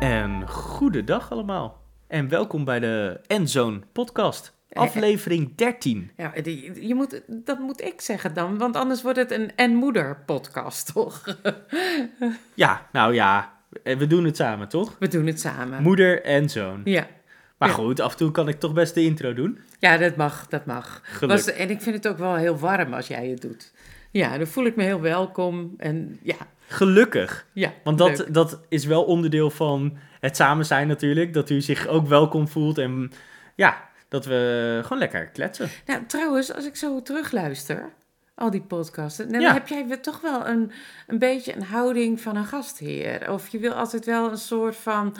En goedendag allemaal. En welkom bij de Endzone podcast. Aflevering 13. Ja, die, je moet, dat moet ik zeggen dan, want anders wordt het een en moeder podcast, toch? Ja, nou ja, eh, we doen het samen, toch? We doen het samen. Moeder en zoon. Ja, Maar Ja. goed, af en toe kan ik toch best de intro doen. ja dat mag, dat mag. Gelukkig. en ik vind het ook wel heel warm als jij het doet. Ja, dan voel ik me heel welkom en ja, Gelukkig. ja. Want dat, leuk. dat is wel onderdeel van het samen zijn natuurlijk. Dat u zich ook welkom voelt en ja, dat we gewoon lekker kletsen. Nou, trouwens, als ik zo terugluister, al die podcasten, dan Ja. heb jij weer toch wel een, een beetje een houding van een gastheer. Of je wil altijd wel een soort van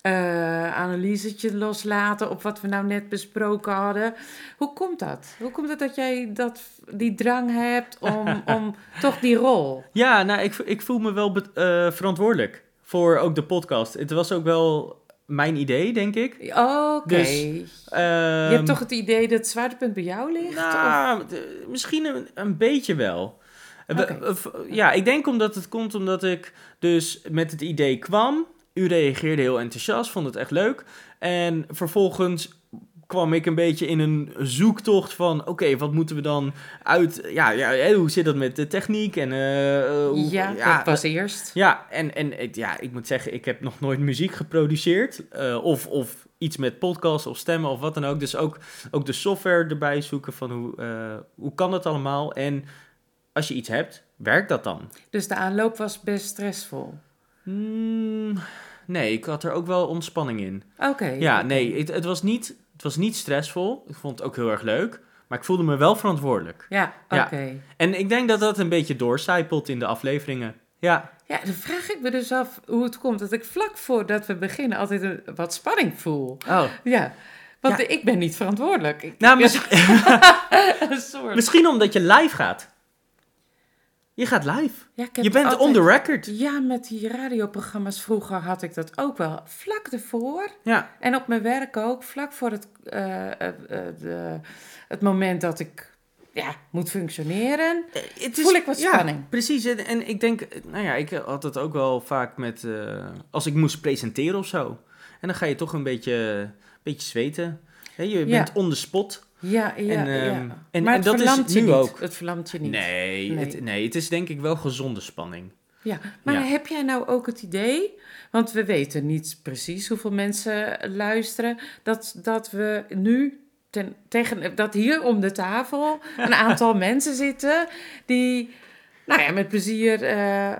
eh analysetje loslaten op wat we nou net besproken hadden. Hoe komt dat? Hoe komt het dat jij dat, die drang hebt om, om toch die rol? Ja, nou, ik, ik voel me wel be- eh, verantwoordelijk voor ook de podcast. Het was ook wel mijn idee, denk ik. Oké. Dus, je hebt toch het idee dat het zwaartepunt bij jou ligt? Of- ehm, Nou, d- misschien een, een beetje wel. Eh, we- Oké. eh, v- Ja, ik denk omdat het komt omdat ik dus met het idee kwam. U reageerde heel enthousiast, vond het echt leuk. En vervolgens kwam ik een beetje in een zoektocht van... oké, wat moeten we dan uit... Ja, ja eh, hoe zit dat met de techniek en... eh, eh, hoe, ja, dat was eerst. Ja, en, en ik- ja, ik moet zeggen, ik heb nog nooit muziek geproduceerd. eh, of, of iets met podcasts of stemmen of wat dan ook. Dus ook, ook de software erbij zoeken van hoe, eh, hoe kan dat allemaal? En als je iets hebt, werkt dat dan? Dus de aanloop was best stressvol. Hmm, nee, ik had er ook wel ontspanning in. Oké. Ja, nee, het, het, was niet, het was niet stressvol. Ik vond het ook heel erg leuk. Maar ik voelde me wel verantwoordelijk. Ja, oké. Ja. En ik denk dat dat een beetje doorcijpelt in de afleveringen. Ja, Ja, dan vraag ik me dus af hoe het komt dat ik vlak voordat we beginnen altijd een, wat spanning voel. oh. Ja, want Ja. ik ben niet verantwoordelijk. Ik, Nou, ik- misschien, een soort- Misschien omdat je live gaat. Je gaat live. Ja, ik heb Je bent altijd- on the record. Ja, met die radioprogramma's vroeger had ik dat ook wel. Vlak ervoor Ja. en op mijn werk ook. Vlak voor het, eh, eh, eh, de- het moment dat ik ja, moet functioneren. Eh, Het Voel ik wat spanning. precies. En, en ik denk, nou ja, ik had het ook wel vaak met, eh, als ik moest presenteren of zo. En dan ga je toch een beetje, beetje zweten. Hè, je Ja. bent on the spot. Ja, ja, En, ehm, ja. en- en maar het dat is verlamt je nu niet. ook. Het verlamt je niet. Nee, Nee. Het, nee, het is denk ik wel gezonde spanning. Ja, maar Ja. heb jij nou ook het idee, want we weten niet precies hoeveel mensen luisteren, dat, dat we nu ten, tegen, dat hier om de tafel een aantal mensen zitten die, nou ja, met plezier eh,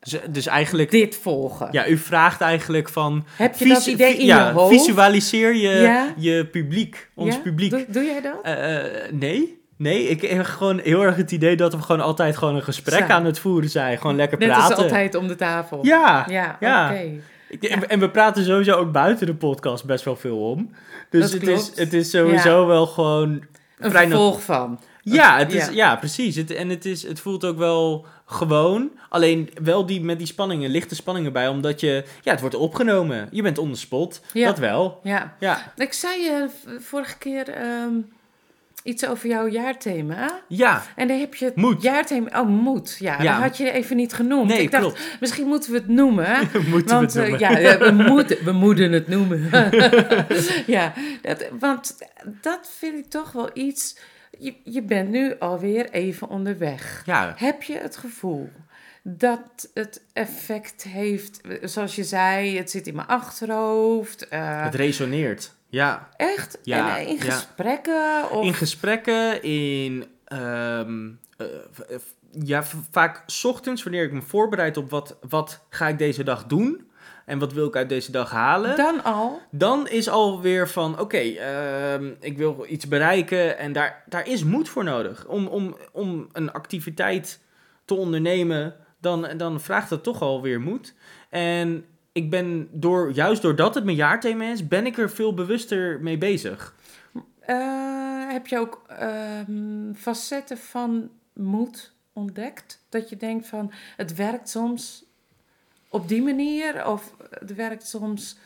Dus, dus eigenlijk, dit volgen. ja, u vraagt eigenlijk van... heb je dat visu- idee vi- in ja, je hoofd? Visualiseer je, Ja. je publiek, ons Ja? publiek. Doe, doe jij dat? Eh, eh, nee. Nee, ik heb gewoon heel erg het idee dat we gewoon altijd gewoon een gesprek Samen. aan het voeren zijn. Gewoon lekker Net praten. als altijd om de tafel. Ja. ja, ja. oké. Ik- En, en we praten sowieso ook buiten de podcast best wel veel om. Dus Dat het klopt. is, het is sowieso wel gewoon... Vrij Een nat- vervolg van. Ja, het is, Ja. ja. precies. Het, en het, is, het voelt ook wel gewoon. Alleen wel die, met die spanningen, lichte spanningen bij. Omdat je... Ja, het wordt opgenomen. Je bent on the spot. Ja. Dat wel. Ja. Ja. Ik zei je vorige keer ehm, iets over jouw jaarthema. Ja. En dan heb je het Moed. jaarthema... Oh, moed. Ja, Ja. dat had je even niet genoemd. Nee, ik dacht, klopt. misschien moeten we het noemen. Moeten we want het noemen. eh, ja, eh, we, moeten, we moeten het noemen. ja, dat, want dat vind ik toch wel iets... Je, je bent nu alweer even onderweg. ja. Heb je het gevoel dat het effect heeft... Zoals je zei, het zit in mijn achterhoofd. eh, Het resoneert. Ja. echt? Ja, en, eh, in ja. gesprekken? Of... In gesprekken, in. ehm, eh, v- eh, v- ja, v- vaak 's ochtends, wanneer ik me voorbereid op wat, wat ga ik deze dag doen en wat wil ik uit deze dag halen. Dan al? Dan is alweer van: oké, ehm, ik wil iets bereiken en daar, daar is moed voor nodig. Om, om, om een activiteit te ondernemen, dan, dan vraagt dat toch alweer moed. En ik ben door, juist doordat het mijn jaarthema is, ben ik er veel bewuster mee bezig. Eh, heb je ook ehm, facetten van moed ontdekt? Dat je denkt van het werkt soms op die manier of het werkt soms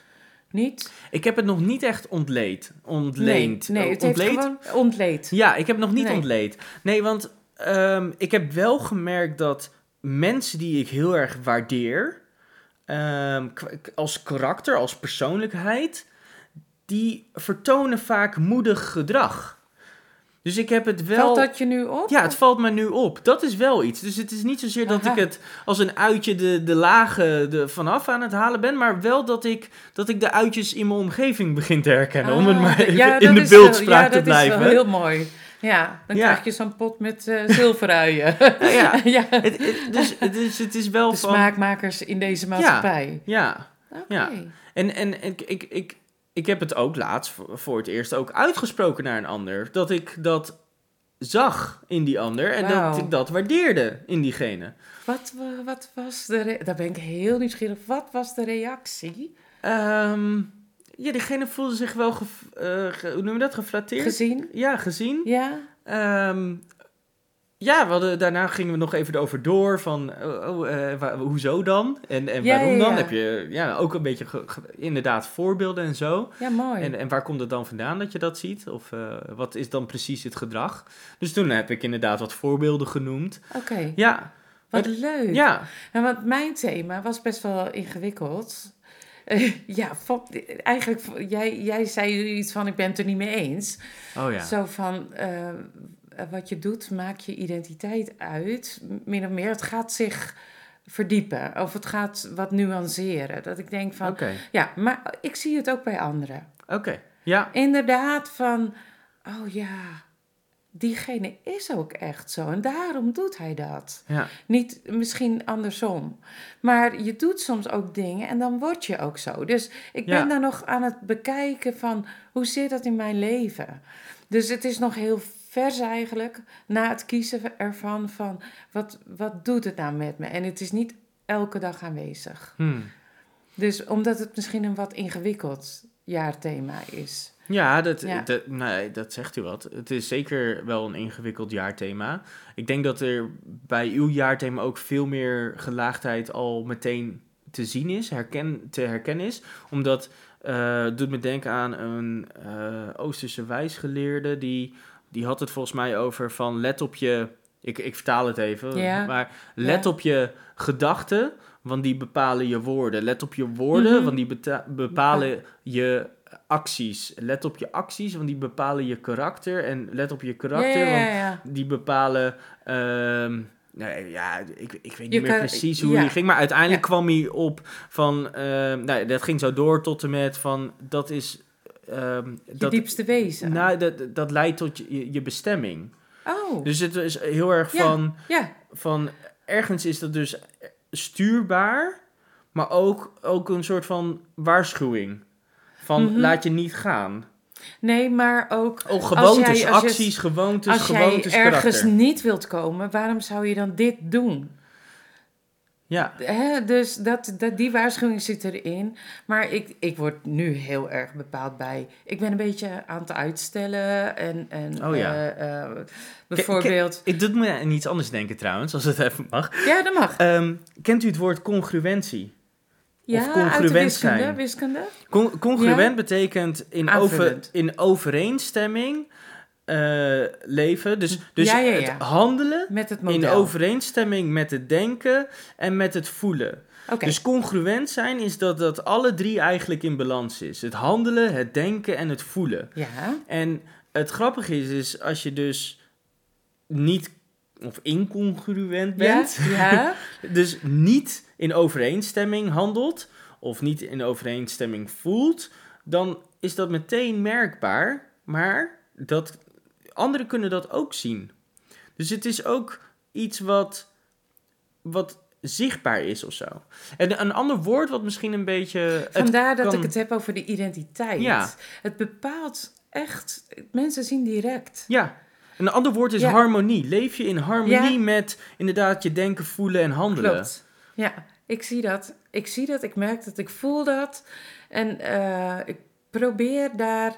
Niet? Ik heb het nog niet echt ontleed. Ontleend. Nee, nee Eh, het ontleed? heeft gewoon ontleed. Ja, ik heb het nog niet Nee. ontleed. Nee, want ehm, ik heb wel gemerkt dat mensen die ik heel erg waardeer, ehm, k- k- als karakter, als persoonlijkheid, die vertonen vaak moedig gedrag. Dus ik heb het wel. Valt dat je nu op? Ja, het valt me nu op. Dat is wel iets. Dus het is niet zozeer dat Aha. ik het als een uitje de, de lagen er vanaf aan het halen ben, maar wel dat ik, dat ik de uitjes in mijn omgeving begin te herkennen. om het Ah, maar even ja, in dat de is wel- beeldspraak te Ja, blijven. dat is wel heel mooi. Ja, dan Ja. krijg je zo'n pot met eh, zilveruien. Ja, ja. ja, de Het, het- dus, het is- het is wel van. smaakmakers in deze maatschappij. Ja. Oké. Ja. En, en ik, ik, ik, ik heb het ook laatst voor voor het eerst ook uitgesproken naar een ander. Dat ik dat zag in die ander en dat Wauw. ik dat waardeerde in diegene. Wat, wa- wat was de... re- Daar ben ik heel nieuwsgierig. Wat was de reactie? Ehm, ja, diegene voelde zich wel, gef- eh, ge- hoe noem je dat, geflatteerd? Gezien? Ja, gezien. Ja? Ehm, ja, we hadden, daarna gingen we nog even erover door van, oh, oh, eh, wa- hoezo dan? En, en Ja, waarom ja, dan? ja. Heb je ja, ook een beetje, ge- ge- inderdaad, voorbeelden en zo. Oh, Ja, mooi. En, eh, en waar komt het dan vandaan dat je dat ziet? Of eh, wat is dan precies het gedrag? Dus toen heb ik inderdaad wat voorbeelden genoemd. Oké, Ja, wat leuk. ja, En want mijn thema was best wel ingewikkeld. Eh, ja, van- eigenlijk, van- jij, jij zei iets van, ik ben het er niet mee eens. oh ja. Zo van, eh, eh, wat je doet, maak je identiteit uit. M- Min of meer, het gaat zich verdiepen. Of het gaat wat nuanceren. Dat ik denk van, Oké, ja, maar ik zie het ook bij anderen. oké. Ja, Inderdaad van, oh ja, diegene is ook echt zo. En daarom doet hij dat. ja, Niet misschien andersom. Maar je doet soms ook dingen en dan word je ook zo. Dus ik ben Ja. daar nog aan het bekijken van hoe zit dat in mijn leven. Dus het is nog heel vers eigenlijk na het kiezen ervan van wat, wat doet het nou met me. En het is niet elke dag aanwezig. Hm. Dus omdat het misschien een wat ingewikkeld jaarthema is. ja, dat, Ja. Dat, nee, dat zegt u wat. Het is zeker wel een ingewikkeld jaarthema. Ik denk dat er bij uw jaarthema ook veel meer gelaagdheid al meteen te zien is, herken, te herkennen is. Omdat eh, het doet me denken aan een eh, Oosterse wijsgeleerde die, die had het volgens mij over van let op je, ik, ik vertaal het even, Ja, maar let ja. op je gedachten, want die bepalen je woorden. Let op je woorden, Mhm. want die beta- bepalen je acties. Let op je acties, want die bepalen je karakter. En let op je karakter, ja, ja, want ja. die bepalen. ehm, nou ja, ik, ik weet niet Je meer kan- precies hoe ja. die ging. Maar uiteindelijk Ja. kwam hij op van. ehm, nou, dat ging zo door tot en met van. Dat is. ehm, Je dat, diepste wezen. nou, dat, dat leidt tot je- je, je bestemming. oh, Dus het is heel erg Ja. van ja. van ergens is dat dus stuurbaar, maar ook, ook een soort van waarschuwing. Van Mhm. laat je niet gaan. Nee, maar ook Oh, gewoontes, Als jij- als je- acties, gewoontes, Als jij gewoontes, ergens karakter. niet wilt komen, waarom zou je dan dit doen? Ja, Hè? Dus dat, dat, die waarschuwing zit erin. Maar ik, ik word nu heel erg bepaald bij. Ik ben een beetje aan het uitstellen. En, en Oh ja. eh, eh, bijvoorbeeld. ik doet me aan iets anders denken trouwens, als het even mag. Ja, dat mag. Ehm, kent u het woord congruentie? Ja, uit de congruent wiskunde. zijn. wiskunde? Con- congruent Ja. betekent in, over, Aanvullend. in overeenstemming eh, leven. Dus, dus Ja, ja, het ja. handelen Met het in model. overeenstemming met het denken en met het voelen. Oké, Dus congruent zijn is dat dat alle drie eigenlijk in balans is. Het handelen, het denken en het voelen. ja. En het grappige is, is als je dus niet of incongruent bent, Ja, ja. dus niet in overeenstemming handelt of niet in overeenstemming voelt, dan is dat meteen merkbaar, maar dat, anderen kunnen dat ook zien. Dus het is ook iets wat, wat zichtbaar is of zo. En een ander woord wat misschien een beetje... het Vandaar dat kan- ik het heb over de identiteit. Ja. Het bepaalt echt. Mensen zien direct. Ja. Een ander woord is Ja. harmonie. Leef je in harmonie Ja. met inderdaad je denken, voelen en handelen. Klopt. Ja, ik zie dat. Ik zie dat, ik merk dat, ik voel dat. En eh, ik probeer daar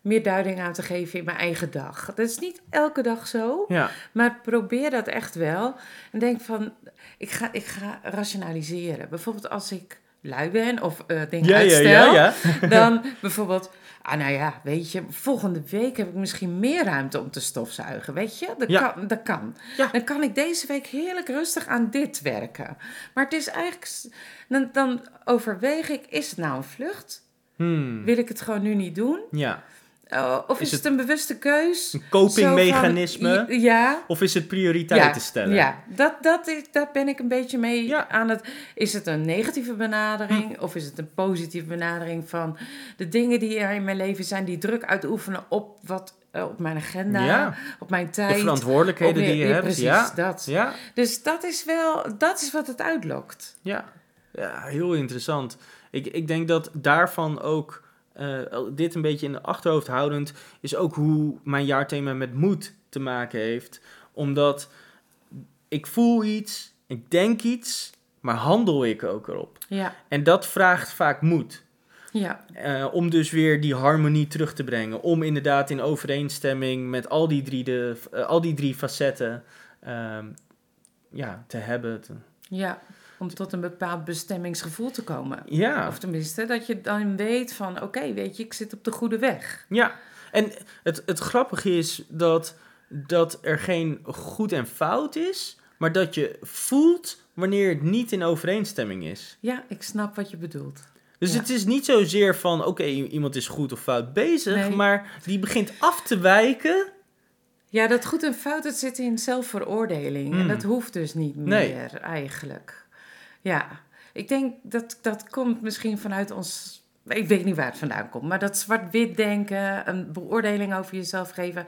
meer duiding aan te geven in mijn eigen dag. Dat is niet elke dag zo, Ja, maar ik probeer dat echt wel. En denk van, ik ga, ik ga rationaliseren. Bijvoorbeeld als ik lui ben of eh dingen Ja, ja, uitstel, ja, ja. dan bijvoorbeeld, ah nou ja, weet je, volgende week heb ik misschien meer ruimte om te stofzuigen, weet je? Dat Ja. kan. Dat kan. Ja. Dan kan ik deze week heerlijk rustig aan dit werken. Maar het is eigenlijk, s- dan, dan overweeg ik, is het nou een vlucht? Hmm, Wil ik het gewoon nu niet doen? ja. Eh, of Is is, het een bewuste keus? Een copingmechanisme? Zo van, Ja. Of is het prioriteiten stellen? Ja, dat, dat is, daar ben ik een beetje mee Ja. Hm. aan het. Is het een negatieve benadering of is het een positieve benadering van de dingen die er in mijn leven zijn, die druk uitoefenen op wat eh, op mijn agenda, Ja. op mijn De tijd. verantwoordelijkheden op- die je ja, hebt. Precies, ja. dat. Ja, Dus dat is wel, dat is wat het uitlokt. ja. ja, heel interessant. Ik, ik denk dat daarvan ook, eh, dit een beetje in de achterhoofd houdend, is ook hoe mijn jaarthema met moed te maken heeft. Omdat ik voel iets, ik denk iets, maar handel ik ook erop. Ja, En dat vraagt vaak moed. ja, Eh, om dus weer die harmonie terug te brengen. Om inderdaad in overeenstemming met al die drie, de, eh, al die drie facetten ehm, ja, te hebben. te- ja. Om tot een bepaald bestemmingsgevoel te komen. Ja, Of tenminste, dat je dan weet van, oké, weet je, ik zit op de goede weg. ja. En het, het grappige is dat, dat er geen goed en fout is, maar dat je voelt wanneer het niet in overeenstemming is. Ja, ik snap wat je bedoelt. Dus Ja. het is niet zozeer van, oké, iemand is goed of fout bezig, Nee. maar die begint af te wijken. Ja, dat goed en fout, het zit in zelfveroordeling. En Mm. dat hoeft dus niet meer Nee. eigenlijk. Ja, ik denk dat dat komt misschien vanuit ons... Ik weet niet waar het vandaan komt, maar dat zwart-wit denken, een beoordeling over jezelf geven...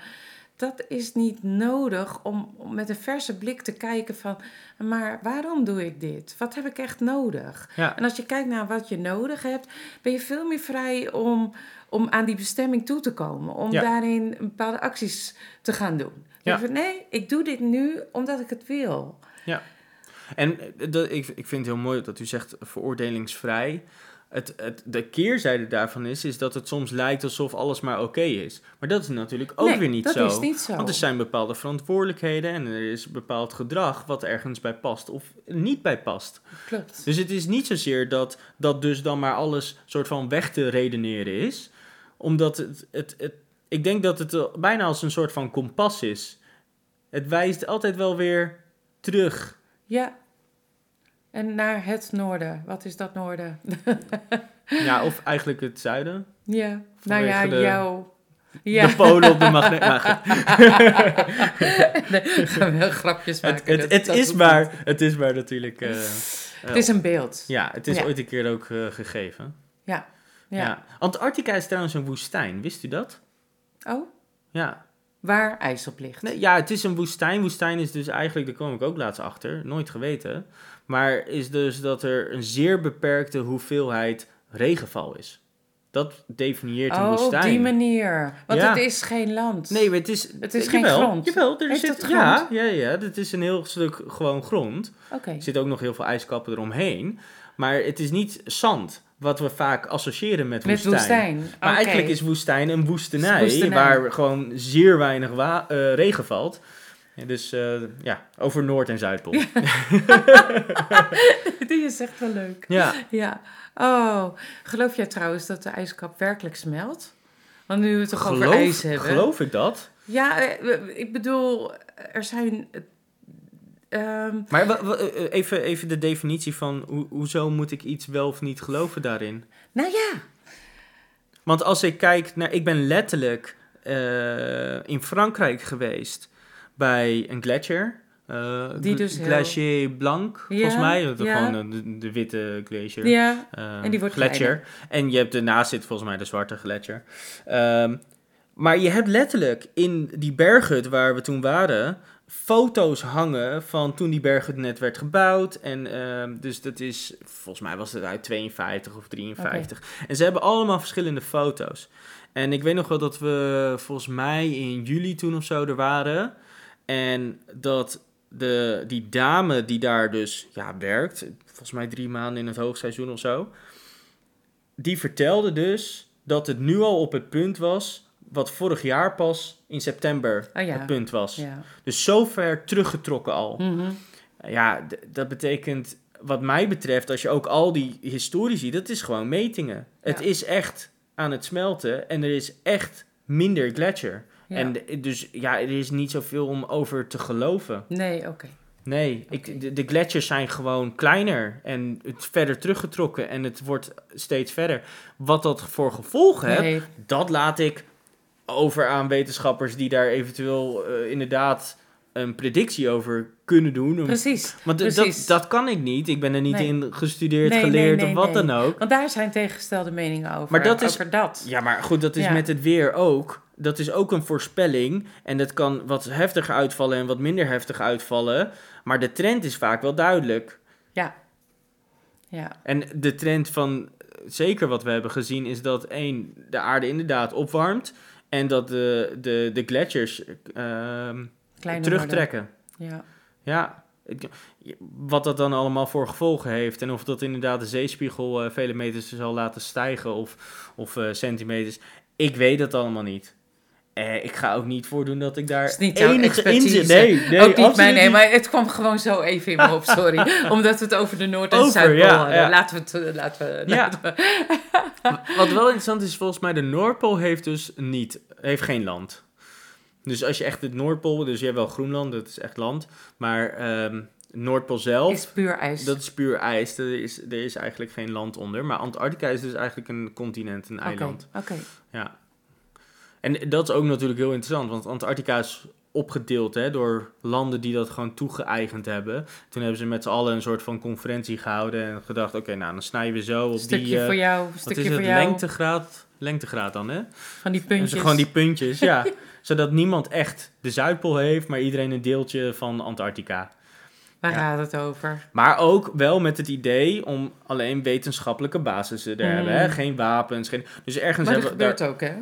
Dat is niet nodig om, om met een verse blik te kijken van... maar waarom doe ik dit? Wat heb ik echt nodig? Ja, En als je kijkt naar wat je nodig hebt, ben je veel meer vrij om, om aan die bestemming toe te komen. Om Ja. daarin bepaalde acties te gaan doen. Ja. Je denkt van, nee, ik doe dit nu omdat ik het wil. En eh, dat, ik, ik vind het heel mooi dat u zegt veroordelingsvrij. Het, het, de keerzijde daarvan is, is dat het soms lijkt alsof alles maar oké is. Maar dat is natuurlijk ook Nee, weer niet dat zo. is niet zo. Want er zijn bepaalde verantwoordelijkheden en er is bepaald gedrag wat ergens bij past of niet bij past. Klopt. Dus het is niet zozeer dat, dat dus dan maar alles soort van weg te redeneren is. Omdat het, het, het, ik denk dat het eh, bijna als een soort van kompas is. Het wijst altijd wel weer terug Ja. En naar het noorden. Wat is dat noorden? Ja, of eigenlijk het zuiden. ja. Nou ja, Vanwege de- jou. Ja, De polen op de magneet. Nou, goed. nee, gaan we wel grapjes maken. het, het, dat- het, dat is hoeft niet. maar, het is maar natuurlijk... eh, Het is een beeld. ja, het is Ja. ooit een keer ook eh, gegeven. Ja. Ja. Ja. Antarctica is trouwens een woestijn, wist u dat? Oh, Ja. waar ijs op ligt. Nee, ja, het is een woestijn. Woestijn is dus eigenlijk, daar kwam ik ook laatst achter, nooit geweten. Maar is dus dat er een zeer beperkte hoeveelheid regenval is. Dat definieert een oh, op woestijn. die manier. Want Ja. het is geen land. Nee, maar het is... eh, Het is geen jawel, grond. Jawel, er Heet zit... dat Ja, ja, ja, dit is een heel stuk gewoon grond. Oké. Er zitten ook nog heel veel ijskappen eromheen. Maar het is niet zand, wat we vaak associëren met Met woestijn. woestijn. Maar Oké. eigenlijk is woestijn een woestenij, Het is woestenij. waar gewoon zeer weinig wa- eh, regen valt. Ja, dus eh, ja, over Noord- en Zuidpool. Ja. Die is echt wel leuk. ja. Ja. Oh, geloof jij trouwens dat de ijskap werkelijk smelt? Want nu we het toch over ijs hebben. geloof ik dat. Ja, eh, we- ik bedoel, er zijn... eh, ehm, Maar wa- wa- eh, even, even de definitie van hoe hoezo moet ik iets wel of niet geloven daarin? nou ja, Want als ik kijk naar. Ik ben letterlijk eh, in Frankrijk geweest bij een glacier. eh, Die gl- dus heel- glacier Blanc, Ja, volgens mij. Dat is ja. Gewoon de, de witte glacier. ja, eh, En die wordt glacier. kleiner. En je hebt daarnaast zit volgens mij de zwarte glacier. Ehm, maar je hebt letterlijk in die berghut waar we toen waren. Foto's hangen van toen die berghut net werd gebouwd. En ehm, dus dat is, volgens mij was het uit 52 of 53. En ze hebben allemaal verschillende foto's. En ik weet nog wel dat we volgens mij in juli toen of zo er waren. En dat de, die dame die daar dus ja, werkt, volgens mij drie maanden in het hoogseizoen of zo, die vertelde dus dat het nu al op het punt was wat vorig jaar pas in september Oh ja. het punt was. ja. Dus zo ver teruggetrokken al. Mhm. Ja, d- dat betekent wat mij betreft, als je ook al die historici, dat is gewoon metingen. Het Ja. is echt aan het smelten en er is echt minder gletsjer. Ja. En d- dus ja, er is niet zoveel om over te geloven. Nee, oké. Nee, ik, de, de gletsjers zijn gewoon kleiner en het verder teruggetrokken en het wordt steeds verder. Wat dat voor gevolgen heeft, Nee, dat laat ik over aan wetenschappers die daar eventueel eh, inderdaad een predictie over kunnen doen. Om- precies. Want d- dat, precies. dat kan ik niet. Ik ben er niet Nee. in gestudeerd, Nee, nee, geleerd nee, of wat nee. dan ook. Want daar zijn tegengestelde meningen over. Maar dat is- Over dat. Ja, maar goed, dat is Ja. met het weer ook. Dat is ook een voorspelling. En dat kan wat heftiger uitvallen en wat minder heftig uitvallen. Maar de trend is vaak wel duidelijk. Ja, En de trend van eh, zeker wat we hebben gezien is dat één, de aarde inderdaad opwarmt. En dat de, de, de gletsjers ehm, kleine terugtrekken. woorden. Ja. Ja, ik- wat dat dan allemaal voor gevolgen heeft. En of dat inderdaad de zeespiegel eh, vele meters zal laten stijgen of, of eh, centimeters. Ik weet dat allemaal niet. Eh, ik ga ook niet voordoen dat ik daar Is niet jouw enige in expertise. zit. Nee, nee, ook niet absoluut mijn, nee, niet. maar het kwam gewoon zo even in me op, sorry. Omdat we het over de Noord- en Over, Zuidpool ja, hadden. ja. Laten we het, eh, laten we, Ja. laten we- Wat wel interessant is, volgens mij de Noordpool heeft dus niet, heeft geen land. Dus als je echt het Noordpool, dus je hebt wel Groenland, dat is echt land. Maar ehm Noordpool zelf... is puur ijs. Dat is puur ijs. Er is, er is eigenlijk geen land onder. Maar Antarctica is dus eigenlijk een continent, een Oké, eiland. Oké, Ja. En dat is ook natuurlijk heel interessant, want Antarctica is opgedeeld hè, door landen die dat gewoon toegeëigend hebben. Toen hebben ze met z'n allen een soort van conferentie gehouden en gedacht, oké, nou dan snijden we zo op stukje die... eh, voor jou, wat stukje is dat? voor jou. Lengtegraad? Lengtegraad dan, hè? Van die En puntjes. ze gewoon die puntjes, ja. Zodat niemand echt de Zuidpool heeft, maar iedereen een deeltje van Antarctica. Waar ja. gaat het over? Maar ook wel met het idee om alleen wetenschappelijke basissen te Mm. hebben. Hè? Geen wapens. Geen... Dus ergens Maar hebben dat we. gebeurt daar- ook, hè?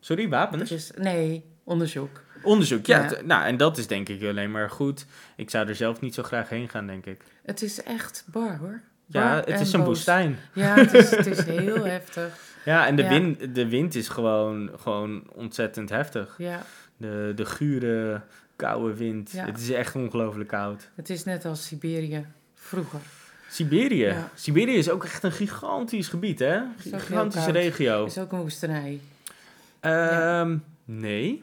Sorry, Dat wapens? is, nee, onderzoek. Onderzoek, ja. Ja. t- Nou, en dat is denk ik alleen maar goed. Ik zou er zelf niet zo graag heen gaan, denk ik. Het is echt bar, hoor. Ja, Bar het is en een boos. woestijn. Ja, het is, het is heel heftig. Ja, en de, Ja. Wind, de wind is gewoon, gewoon ontzettend heftig. Ja, De, de gure, koude wind. Ja. Het is echt ongelooflijk koud. het is net als Siberië vroeger. Oh. Siberië. Ja. Siberië is ook echt een gigantisch gebied, hè? ook heel Gigantische koud. regio. is ook een woestenij. Ehm, Nee,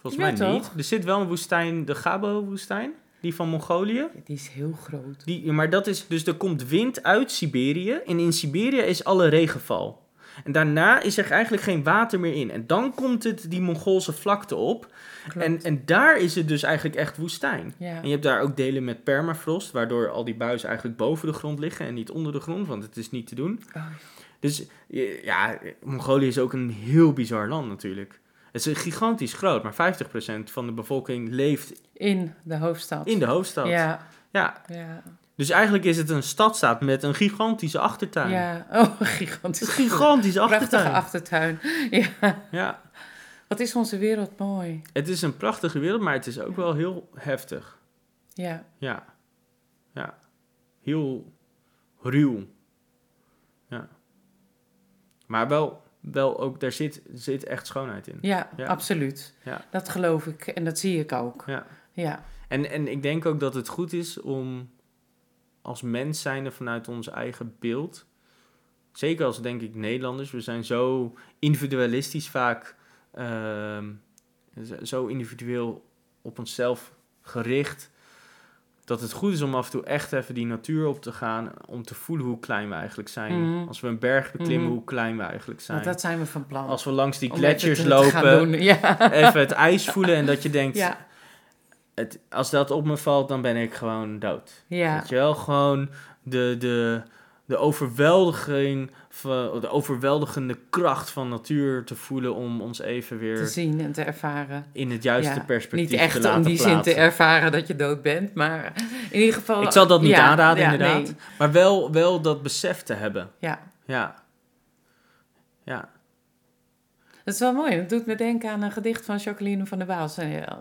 volgens Ja, mij toch? niet. Er zit wel een woestijn, de Gabo-woestijn, die van Mongolië. Die is heel groot. Die, maar dat is, dus er komt wind uit Siberië en in Siberië is alle regenval. En daarna is er eigenlijk geen water meer in. En dan komt het die Mongoolse vlakte op. Klopt. En, en daar is het dus eigenlijk echt woestijn. ja. En je hebt daar ook delen met permafrost, waardoor al die buizen eigenlijk boven de grond liggen en niet onder de grond, want het is niet te doen. Oh, Dus eh, ja, Mongolië is ook een heel bizar land natuurlijk. Het is gigantisch groot, maar 50% van de bevolking leeft in de hoofdstad. in de hoofdstad. Ja, Ja, ja, dus eigenlijk is het een stadstaat met een gigantische achtertuin. ja. Oh, Het is gigantisch. een gigantische Prachtige achtertuin. achtertuin. Ja. ja, Wat is onze wereld mooi. het is een prachtige wereld, maar het is ook wel heel heftig. Ja, Ja, ja. Heel ruw. Ja. Maar wel, wel ook, daar zit, zit echt schoonheid in. ja, Ja. absoluut. Ja. Dat geloof ik en dat zie ik ook. Ja. Ja, En, en ik denk ook dat het goed is om als mens zijnde vanuit ons eigen beeld, zeker als denk ik Nederlanders, we zijn zo individualistisch vaak, ehm, z- zo individueel op onszelf gericht, dat het goed is om af en toe echt even die natuur op te gaan, om te voelen hoe klein we eigenlijk zijn. Mhm. Als we een berg beklimmen, Mhm. hoe klein we eigenlijk zijn. want dat zijn we van plan. Als we langs die Om even gletsjers te- te gaan lopen, doen. Ja. even het ijs voelen en dat je denkt, Ja. het, als dat op me valt, dan ben ik gewoon dood. ja, Weet je wel, gewoon de, de, de, overweldiging van, de overweldigende kracht van natuur te voelen om ons even te weer zien en te ervaren. in het juiste Ja, perspectief Niet te echt laten om die zin plaatsen. te ervaren dat je dood bent, maar in ieder geval... Ik zal dat niet Ja, aanraden, ja, inderdaad. nee. Maar wel, wel dat besef te hebben. Ja, Ja. Ja. Dat is wel mooi. Dat doet me denken aan een gedicht van Jacqueline van der Waals. En, eh,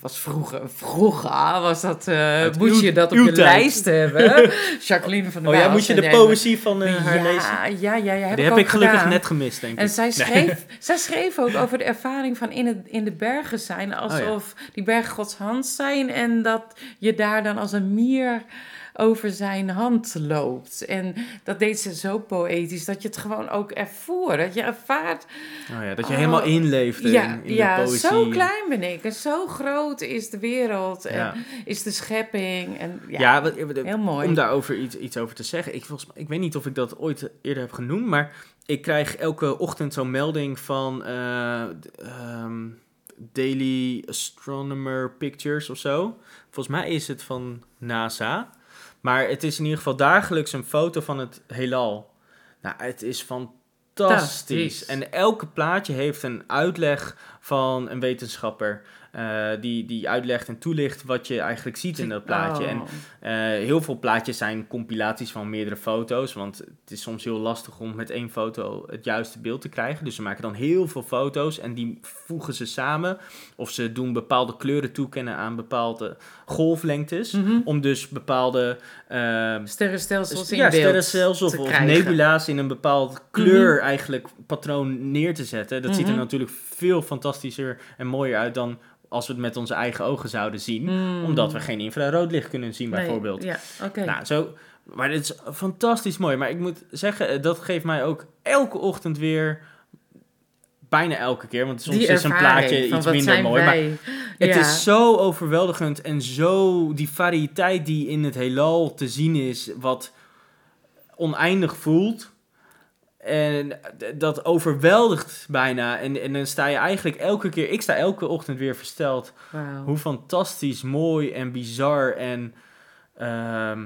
was vroeger, vroeger was dat, eh, Uit moest uw- je dat op uw je tijd. lijst hebben. Jacqueline van der Oh Waals. ja, moet je en de jij- poëzie van eh, haar lezen? ja, ja, ja, ja. Heb Die ik, heb ook ik gelukkig gedaan. net gemist, denk ik. En zij schreef, zij schreef ook over de ervaring van in, het, in de bergen Oh, zijn. Alsof die bergen Gods hand zijn. En dat je daar dan als een mier over zijn hand loopt. En dat deed ze zo poëtisch dat je het gewoon ook ervoor, dat je ervaart Nou ja, dat je Oh. helemaal inleeft in, ja, in de ja poëzie. zo klein ben ik. En zo groot is de wereld. En Ja. is de schepping. En, ja, Ja, wat- heel mooi. om daarover iets, iets over te zeggen. Ik, volgens, mij- ik weet niet of ik dat ooit eerder heb genoemd, maar ik krijg elke ochtend zo'n melding van eh, d- ehm, Daily Astronomer Pictures of zo. Volgens mij is het van NASA. Maar het is in ieder geval dagelijks een foto van het heelal. Nou, het is fantastisch. Fantastisch. En elke plaatje heeft een uitleg van een wetenschapper. eh, die, die uitlegt en toelicht wat je eigenlijk ziet in dat plaatje. En Oh. eh, heel veel plaatjes zijn compilaties van meerdere foto's. Want het is soms heel lastig om met één foto het juiste beeld te krijgen. Dus ze maken dan heel veel foto's en die voegen ze samen. Of ze doen bepaalde kleuren toekennen aan bepaalde golflengtes. Mhm. Om dus bepaalde eh, Sterrenstelsels in ja, beeld sterrenstelsels te of krijgen. nebula's in een bepaald kleur eigenlijk patroon neer te zetten. Dat ziet er Mhm. natuurlijk veel fantastischer en mooier uit dan als we het met onze eigen ogen zouden zien. Mm. Omdat we geen infraroodlicht kunnen zien Nee, bijvoorbeeld. Ja, oké. Nou, zo, maar dit is fantastisch mooi. Maar ik moet zeggen, eh, dat geeft mij ook elke ochtend weer, bijna elke keer, want soms Die is een ervaring plaatje van iets wat minder zijn mooi. Maar wij. het Ja. is zo overweldigend en zo die variëteit die in het heelal te zien is, wat oneindig voelt. En d- dat overweldigt bijna. En, en dan sta je eigenlijk elke keer, ik sta elke ochtend weer versteld Wauw. hoe fantastisch, mooi en bizar en ehm,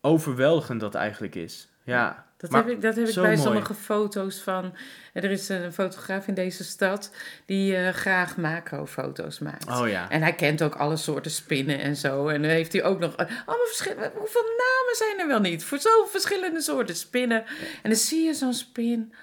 overweldigend dat eigenlijk is. Ja, Dat Maar heb ik, dat heb ik zo bij mooi. sommige foto's van. Er is een fotograaf in deze stad die eh, graag macrofoto's maakt. oh ja. En hij kent ook alle soorten spinnen en zo. En dan heeft hij ook nog eh, allemaal verschillende... Hoeveel namen zijn er wel niet? Voor zoveel verschillende soorten spinnen. En dan zie je zo'n spin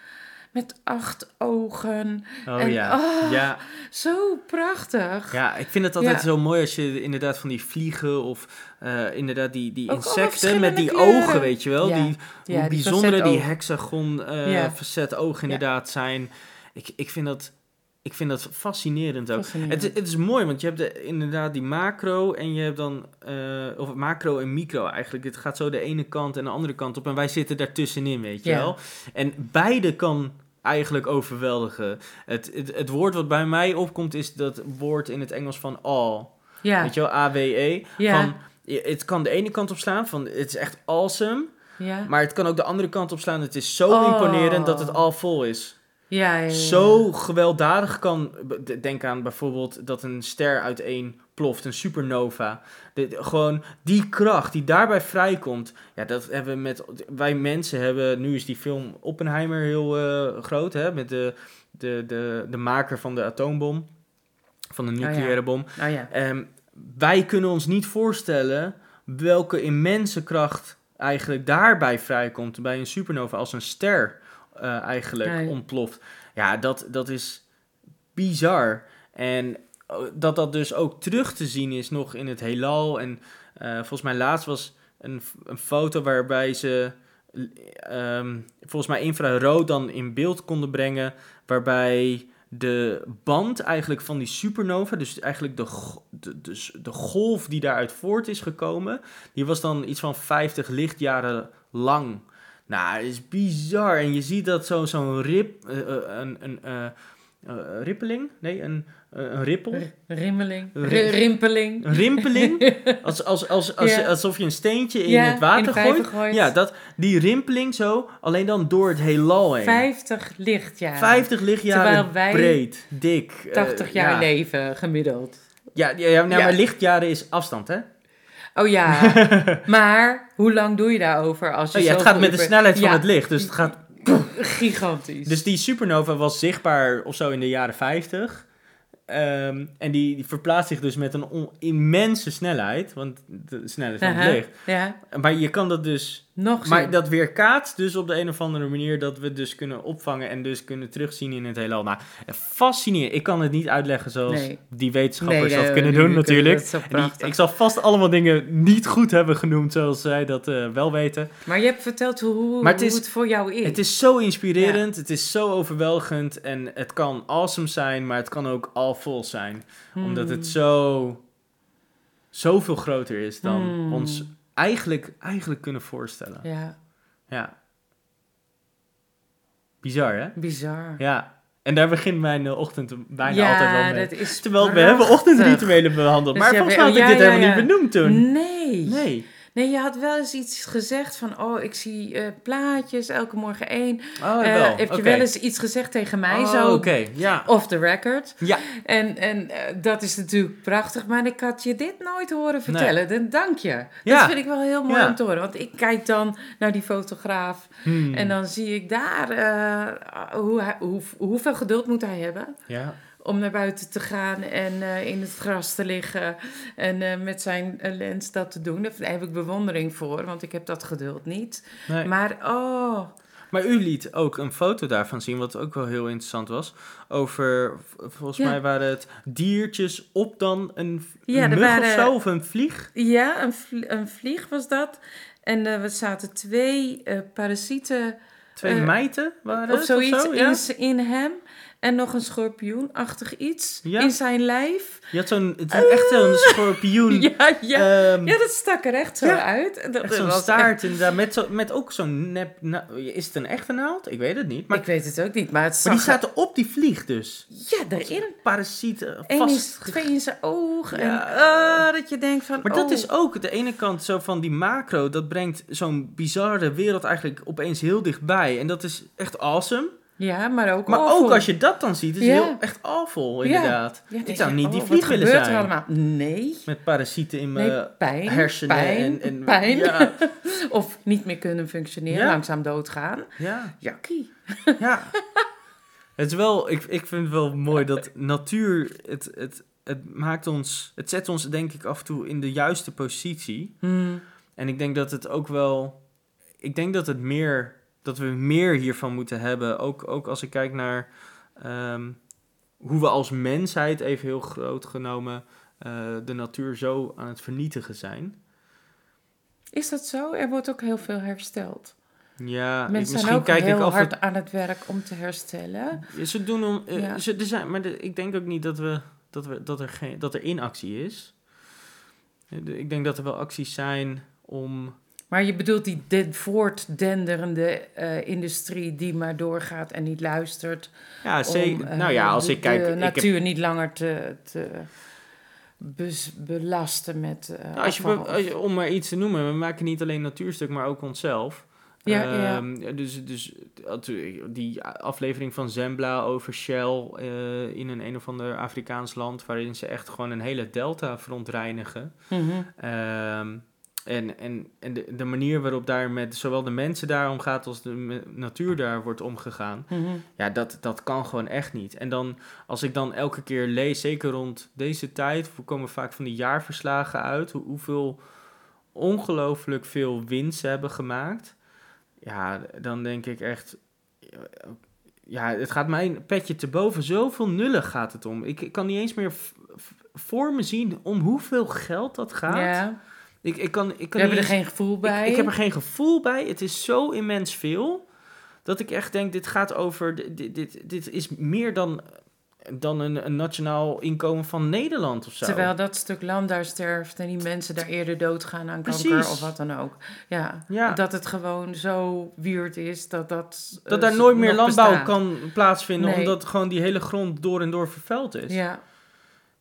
met acht ogen. Oh en- ja. oh. ja. Zo prachtig. Ja, ik vind het altijd Ja. zo mooi als je inderdaad van die vliegen of eh, inderdaad die, die Ook allemaal insecten met die verschillende ogen, kleuren. weet je wel. Ja. Die, Ja, hoe die bijzondere die facetogen. hexagon eh Ja. facet ogen inderdaad zijn. Ik, ik, vind dat, ik vind dat fascinerend ook. Fascinerend. Het, is- het is mooi, want je hebt de, inderdaad die macro en je hebt dan, eh, of macro en micro eigenlijk. Het gaat zo de ene kant en de andere kant op en wij zitten daartussenin, weet je Ja. wel. En beide kan eigenlijk overweldigen. Het, het, het woord wat bij mij opkomt is dat woord in het Engels van all. Ja, Weet je wel, A-W-E. Ja. Van, je- het kan de ene kant op slaan van het is echt awesome. ja. Maar het kan ook de andere kant op slaan. Het is zo Oh. imponerend dat het al vol is. ja, ja, ja. Zo gewelddadig kan... b- Denk aan bijvoorbeeld dat een ster uiteen ploft. Een supernova. De, de- gewoon die kracht die daarbij vrijkomt. Ja, dat hebben we met... Wij mensen hebben... Nu is die film Oppenheimer heel eh, groot. Hè, met de, de, de, de maker van de atoombom. Van de ja. nucleaire bom. Nou ja. Ehm, wij kunnen ons niet voorstellen welke immense kracht eigenlijk daarbij vrijkomt bij een supernova als een ster eh, eigenlijk Nee. ontploft. Ja, dat, dat is bizar. En eh, dat dat dus ook terug te zien is nog in het heelal. En eh, volgens mij laatst was een, f- een foto waarbij ze ehm, volgens mij infrarood dan in beeld konden brengen. Waarbij de band eigenlijk van die supernova, dus eigenlijk de, go- de, dus de golf die daaruit voort is gekomen, die was dan iets van 50 lichtjaren lang. Nou, het is bizar. En je ziet dat zo- zo'n rip, eh, eh, een, een eh, eh, rippeling, nee, een, eh, een rippel, R- rimmeling. Ri- R- rimpeling. een rimpeling, als, als, als, als, Ja. alsof je een steentje in Ja, het water in de vijver gooit. gooit. Ja, dat, die rimpeling zo, alleen dan door het heelal heen. 50 lichtjaren. 50 lichtjaren Terwijl wij breed, dik. eh, 80 jaar ja. leven gemiddeld. Ja, ja, ja, nou, Ja. maar lichtjaren is afstand, hè? Oh ja, maar hoe lang doe je daarover als je Oh, ja, het zoveel gaat met de uur- snelheid van Ja, het licht. Dus, het gaat, gigantisch. dus die supernova was zichtbaar of zo in de jaren 50. Ehm, en die, die verplaatst zich dus met een on- immense snelheid. Want de snelheid van Aha, het licht. Ja, Maar je kan dat dus... nog zo. Maar dat weerkaatst dus op de een of andere manier... dat we het dus kunnen opvangen en dus kunnen terugzien in het heelal. Nou, fascinerend. Ik kan het niet uitleggen zoals Nee. die wetenschappers Nee, dat nee, kunnen nee, doen nee, natuurlijk. dat is zo En die- prachtig. ik zal vast allemaal dingen niet goed hebben genoemd zoals zij dat eh, wel weten. Maar je hebt verteld hoe, Maar het hoe is- het voor jou is. Het is zo inspirerend, het is zo overweldigend en het kan awesome zijn, maar het kan ook all vol Hmm. zijn. Omdat het zo, zoveel groter is dan Hmm. ons eigenlijk, eigenlijk kunnen voorstellen. Ja, Ja. Bizar, hè? bizar. Ja. En daar begint mijn eh, ochtend bijna Ja, altijd wel mee. dat is Terwijl we prachtig. hebben ochtendrituelen behandeld. Dus maar je volgens mij had ik hebt- dit ja, ja, helemaal ja. niet benoemd toen. Nee. Nee. Nee, je had wel eens iets gezegd van, oh, ik zie eh, plaatjes, elke morgen één. Oh, Eh, wel. heb je Oké. wel eens iets gezegd tegen mij Oh, zo? Oké, ja. Off the record. Ja, En, en eh, dat is natuurlijk prachtig, maar ik had je dit nooit horen vertellen. Dan dank je. Ja. Dat vind ik wel heel mooi Ja. om te horen. Want ik kijk dan naar die fotograaf Hmm. en dan zie ik daar eh, hoe hij, hoe, hoeveel geduld moet hij hebben ja. om naar buiten te gaan en eh, in het gras te liggen en eh, met zijn eh, lens dat te doen. Daar heb ik bewondering voor, want ik heb dat geduld niet. Nee. Maar, Maar oh, u liet ook een foto daarvan zien, wat ook wel heel interessant was. Over, v- volgens Ja. mij waren het diertjes op dan een, v- Ja, een er mug of waren- zo, of een vlieg. Ja, een, vl- een vlieg was dat. En eh er zaten twee eh, parasieten Twee Eh, mijten waren of het, zoiets zo, ja? in, z- in hem. En nog een schorpioenachtig iets Ja. in zijn lijf. Je had zo'n, het- echt een schorpioen. Ah. Ja, ja. ehm, ja, dat stak er echt zo ja. uit. En Dat, Echt zo'n was staart inderdaad, met, zo, met ook zo'n nep... na- is het een echte naald? Ik weet het niet. Maar, ik weet het ook niet, maar het maar die zag... zaten op die vlieg dus. Ja, daarin. Parasieten, Eén is vast. twee in zijn ogen. En Ja. ah, dat je denkt van... Maar dat oh. is ook de ene kant zo van die macro, dat brengt zo'n bizarre wereld eigenlijk opeens heel dichtbij. En dat is echt awesome. Ja, maar ook Maar awful. ook als je dat dan ziet, is Ja. heel echt awful Ja. inderdaad. Ja, denk Ik zou je, niet die oh, vlieg wat willen gebeurt er zijn. allemaal? Nee. Met parasieten in mijn Nee, pijn, hersenen pijn, en, en pijn. Ja, Of niet meer kunnen functioneren, Ja. langzaam doodgaan. ja. Jakkie. Ja. het is wel, ik, ik vind het wel mooi dat natuur, het, het, het maakt ons, het zet ons denk ik af en toe in de juiste positie. Hmm. En ik denk dat het ook wel, ik denk dat het meer, dat we meer hiervan moeten hebben. Ook, ook als ik kijk naar ehm, hoe we als mensheid, even heel groot genomen, eh, de natuur zo aan het vernietigen zijn. Is dat zo? Er wordt ook heel veel hersteld. Ja, ik- Mensen zijn misschien ook kijk heel ik af en hard aan het werk om te herstellen. Ja, Ze doen om. eh, Ja. ze, er zijn, maar de- ik denk ook niet dat, we, dat, we, dat, er geen, dat er inactie is. Eh, de- Ik denk dat er wel acties zijn om. Maar je bedoelt die de- voortdenderende eh, industrie die maar doorgaat en niet luistert. Ja, ze, om, eh, nou ja, als de- ik kijk. De ik heb- natuur niet langer te, te bes- belasten met. eh, nou, als je, afval. be- als je- om maar iets te noemen, we maken niet alleen natuurstuk, maar ook onszelf. Ja, ja. Ehm, Dus, dus dat- die aflevering van Zembla over Shell eh, in een een of ander Afrikaans land, waarin ze echt gewoon een hele delta verontreinigen. Mhm. Ehm, en en, en de, de manier waarop daar met zowel de mensen daar omgaat als de me- natuur daar wordt omgegaan. Mhm. Ja, dat, dat kan gewoon echt niet. En dan, als ik dan elke keer lees, zeker rond deze tijd, we komen vaak van die jaarverslagen uit, hoe, hoeveel ongelooflijk veel winst ze hebben gemaakt. Ja, dan denk ik echt, ja, het gaat mijn petje te boven. Zoveel nullen gaat het om. Ik, ik kan niet eens meer v- v- voor me zien om hoeveel geld dat gaat. Ja, Ik, ik kan, ik we kan hebben niet er eens- geen gevoel bij. ik, ik heb er geen gevoel bij. Het is zo immens veel. Dat ik echt denk, dit gaat over. di- Dit, dit, dit is meer dan, dan een, een nationaal inkomen van Nederland of zo. Terwijl dat stuk land daar sterft en die mensen daar eerder doodgaan aan kanker Precies. of wat dan ook. Ja, Ja. dat het gewoon zo weird is dat dat... eh, dat daar nooit meer nog landbouw bestaat. kan plaatsvinden. Nee. Omdat gewoon die hele grond door en door vervuild is. Ja,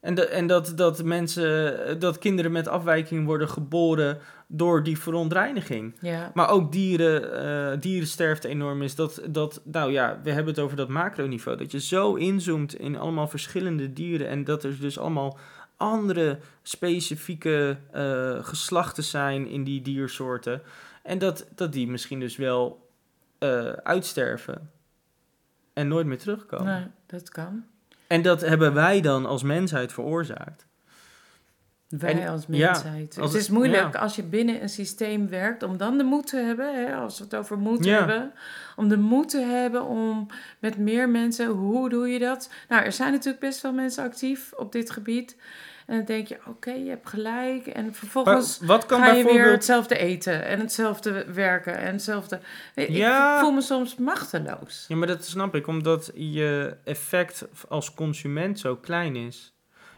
En, de- en dat, dat mensen, dat kinderen met afwijking worden geboren door die verontreiniging. ja. Maar ook dieren, eh dierensterfte enorm is. Dat, dat, nou ja, we hebben het over dat macroniveau. Dat je zo inzoomt in allemaal verschillende dieren. En dat er dus allemaal andere specifieke eh, geslachten zijn in die diersoorten. En dat, dat die misschien dus wel eh, uitsterven. En nooit meer terugkomen. Nee, Nou, dat kan. En dat hebben wij dan als mensheid veroorzaakt. Wij En- als ja, mensheid. als- het is moeilijk als je binnen een systeem werkt om dan de moed te hebben, hè, als we het over moed Ja. hebben, om de moed te hebben om met meer mensen, hoe doe je dat? Nou, er zijn natuurlijk best wel mensen actief op dit gebied. En dan denk je, oké, je hebt gelijk. En Maar vervolgens wat kan ga je weer bijvoorbeeld... hetzelfde eten en hetzelfde werken en hetzelfde. Ik Ja. voel me soms machteloos. Ja, maar dat snap ik, omdat je effect als consument zo klein is.